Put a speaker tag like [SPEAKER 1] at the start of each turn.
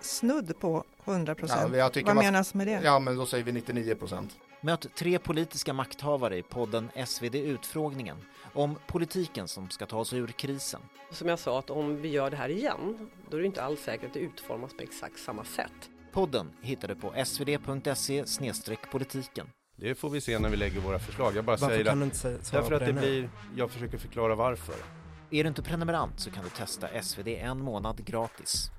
[SPEAKER 1] snudd på 100
[SPEAKER 2] Ja,
[SPEAKER 1] procent.
[SPEAKER 2] jag tycker
[SPEAKER 1] Vad
[SPEAKER 2] man-
[SPEAKER 1] menas med det?
[SPEAKER 2] Ja, men då säger vi 99 procent.
[SPEAKER 3] Möt tre politiska makthavare i podden SvD Utfrågningen om politiken som ska ta sig ur krisen.
[SPEAKER 4] Som jag sa, att om vi gör det här igen, då är det inte alls säkert att det utformas på exakt samma sätt.
[SPEAKER 3] Podden hittar du på svd.se E politiken.
[SPEAKER 5] Det får vi se när vi lägger våra förslag. Jag bara
[SPEAKER 6] Varför
[SPEAKER 5] säger
[SPEAKER 6] kan
[SPEAKER 5] att,
[SPEAKER 6] du inte sä- svara
[SPEAKER 5] därför
[SPEAKER 6] på
[SPEAKER 5] att det
[SPEAKER 6] nu?
[SPEAKER 5] blir, jag försöker förklara varför.
[SPEAKER 3] Är du inte prenumerant så kan du testa SvD en månad gratis.